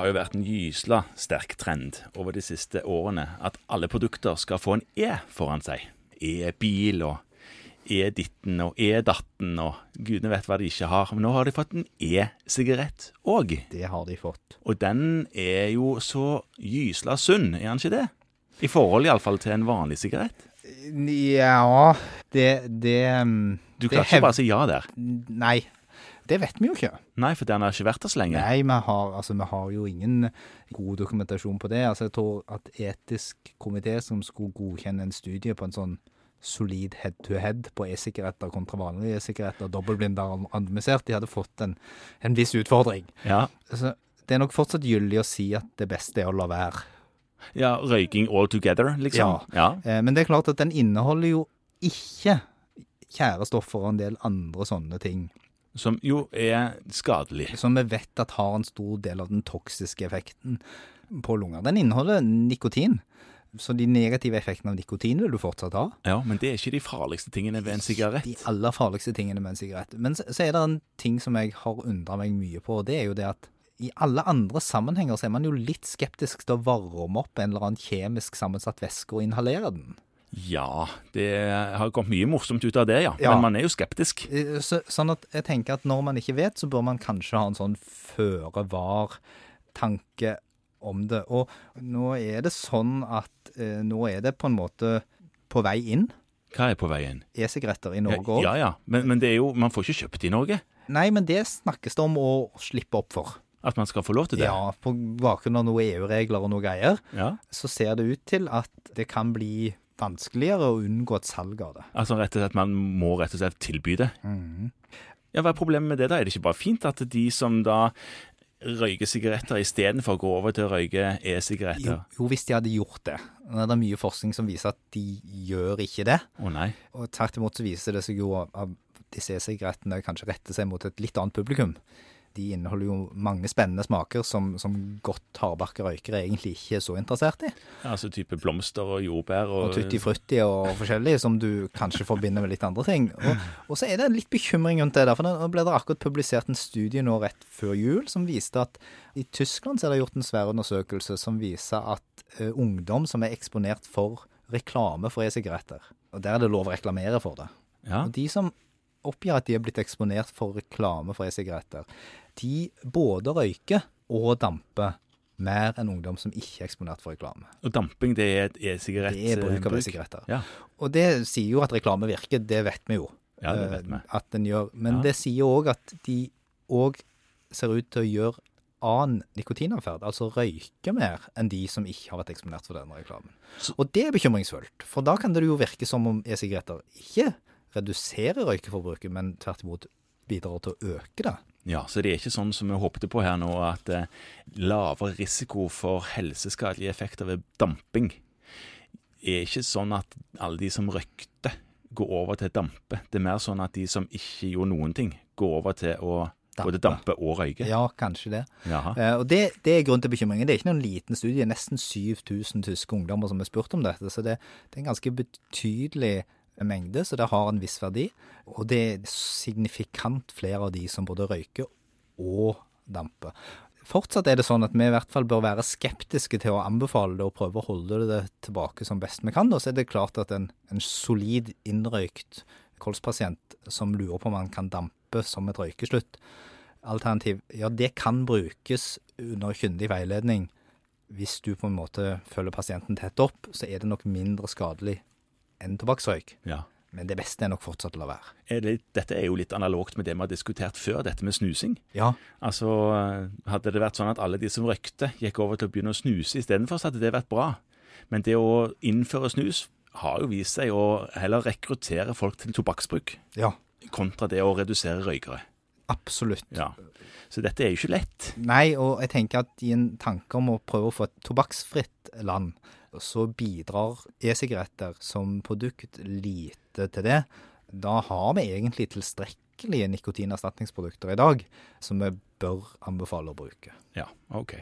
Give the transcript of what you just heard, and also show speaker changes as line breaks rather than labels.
jo vært en gysla sterk trend over de siste årene at alle produkter skal få en E foran seg. E-bil og E-ditten og E-datten og gudene vet hva de ikke har. Men nå har de fått en E-sigarett òg.
Det har de fått.
Og den er jo så gysla sunn, er den ikke det? I forhold iallfall til en vanlig sigarett.
Ja Det, det mm,
Du
det
kan ikke
hev-
bare si ja der.
Nei. Det vet vi jo ikke.
Nei, for den har ikke vært der så lenge.
Nei, vi har, altså, vi har jo ingen god dokumentasjon på det. Altså, jeg tror at etisk komité som skulle godkjenne en studie på en sånn solid head-to-head på e-sigaretter kontra vanlige e-sigaretter, dobbeltblinder og anonymisert, de hadde fått en, en viss utfordring.
Ja,
Altså, det er nok fortsatt gyldig å si at det beste er å la være.
ja Røyking all together, liksom. Ja.
Eh, Men det er klart at den inneholder jo ikke tjære stoffer og en del andre sånne ting
Som jo er skadelig.
som vi vet at har en stor del av den toksiske effekten på lunger. Den inneholder nikotin, så de negative effektene av nikotin vil du fortsatt ha.
Ja, Men det er ikke de farligste tingene ved en
De
sigarett.
aller farligste tingene med en sigarett. Men så, så er det en ting som jeg har undra meg mye på, og det er jo det at i alle andre sammenhenger så er man jo litt skeptisk til å varme opp en eller annen kjemisk sammensatt væske og inhalere den.
Ja, det har kommet mye morsomt ut av det, ja.
Ja.
Men man er jo skeptisk.
Eh, Så, sånn at jeg tenker at når man ikke vet, så bør man kanskje ha en sånn føre-var-tanke om det. Og nå er det sånn at eh, nå er det på en måte på vei inn
Hva er på veien?
e-sigaretter i
Ja,
Norge òg.
ja. ja. Men, men det er jo, man får ikke kjøpt i Norge.
Nei, men det snakkes det om å slippe opp for.
At man skal få lov til det.
Ja, på bakgrunn av noen EU-regler og noe greier,
Ja.
så ser det ut til at det kan bli vanskeligere å unngå et salg av det.
Altså rett og slett, Man må rett og slett tilby det.
Mhm.
Ja, Hva er problemet med det? da? Er det ikke bare fint at de som da røyker sigaretter istedenfor går over til å røyke
Jo,
e-sigaretter?
jo, hvis de hadde gjort det. Nå er det mye forskning som viser at de gjør ikke det.
Å nei.
Og tvert imot så viser det seg jo at disse e-sigarettene kanskje retter seg mot et litt annet publikum. De inneholder jo mange spennende smaker som, som godt hardbarka røykere egentlig ikke er så interessert i.
Altså type blomster og jordbær og,
Og tutti frutti og forskjellig, som du kanskje forbinder med litt andre ting. Og, og så er det litt bekymring rundt det der, for nå ble det akkurat publisert en studie nå rett før jul som viste at i Tyskland så er det gjort en svær undersøkelse som viser at eh, ungdom som er eksponert for reklame for e-sigaretter, og der er det lov å reklamere for det.
Ja.
Og de som oppgir at de er blitt eksponert for reklame for e-sigaretter, de både røyker og damper mer enn ungdom som ikke er eksponert for reklame.
og damping, det er et e-sigarett.
Det er bruk av
eh,
e-sigaretter.
Ja.
Og det sier jo at reklame virker, det vet vi jo.
Ja, det vet vi.
eh, At den gjør. Men
Ja.
det sier òg at de òg ser ut til å gjøre annen nikotinavferd, altså røyke mer enn de som ikke har vært eksponert for den reklamen.
Så-
Og det er bekymringsfullt, for da kan det jo virke som om e-sigaretter ikke reduserer røykeforbruket, men tvert imot bidrar til å øke det.
Ja, Så det er ikke sånn som vi håpte på her nå, at eh, lavere risiko for helseskadelige effekter ved damping er ikke sånn at alle de som røykte, går over til dampe. Det er mer sånn at de som ikke gjorde noen ting, går over til å både dampe og røyke.
Ja, kanskje det.
Jaha.
Eh, Og det, det er grunn til bekymring. Det er ikke noen liten studie. Nesten 7000 tyske ungdommer som er spurt om dette. Så det, det er en ganske betydelig mengde, så det har en viss verdi. Og det er signifikant flere av de som både røyker og damper. Fortsatt er det sånn at vi i hvert fall bør være skeptiske til å anbefale det og prøve å holde det tilbake som best vi kan. Og så er det klart at en, en solid innrøykt kolspasient som lurer på om han kan dampe som et røykeslutt, alternativ, ja, det kan brukes under kyndig veiledning. Hvis du på en måte følger pasienten tett opp, så er det nok mindre skadelig enn tobakksrøyk.
Ja.
Men det beste er nok fortsatt å la være.
Er det, dette er jo litt analogt med det vi har diskutert før, dette med snusing.
Ja,
Altså, eh, Hadde det vært sånn at alle de som røykte, gikk over til å begynne å snuse istedenfor, så hadde det vært bra. Men det å innføre snus har jo vist seg å heller rekruttere folk til tobakksbruk,
ja,
kontra det å redusere røykere.
absolutt.
Ja. Så dette er jo ikke lett.
Nei, og jeg tenker at i en tanke om å prøve å få et tobakksfritt land, så bidrar e-sigaretter som produkt lite til det. Da har vi egentlig tilstrekkelige nikotinerstatningsprodukter i dag, som vi bør anbefale å bruke.
Ja, OK.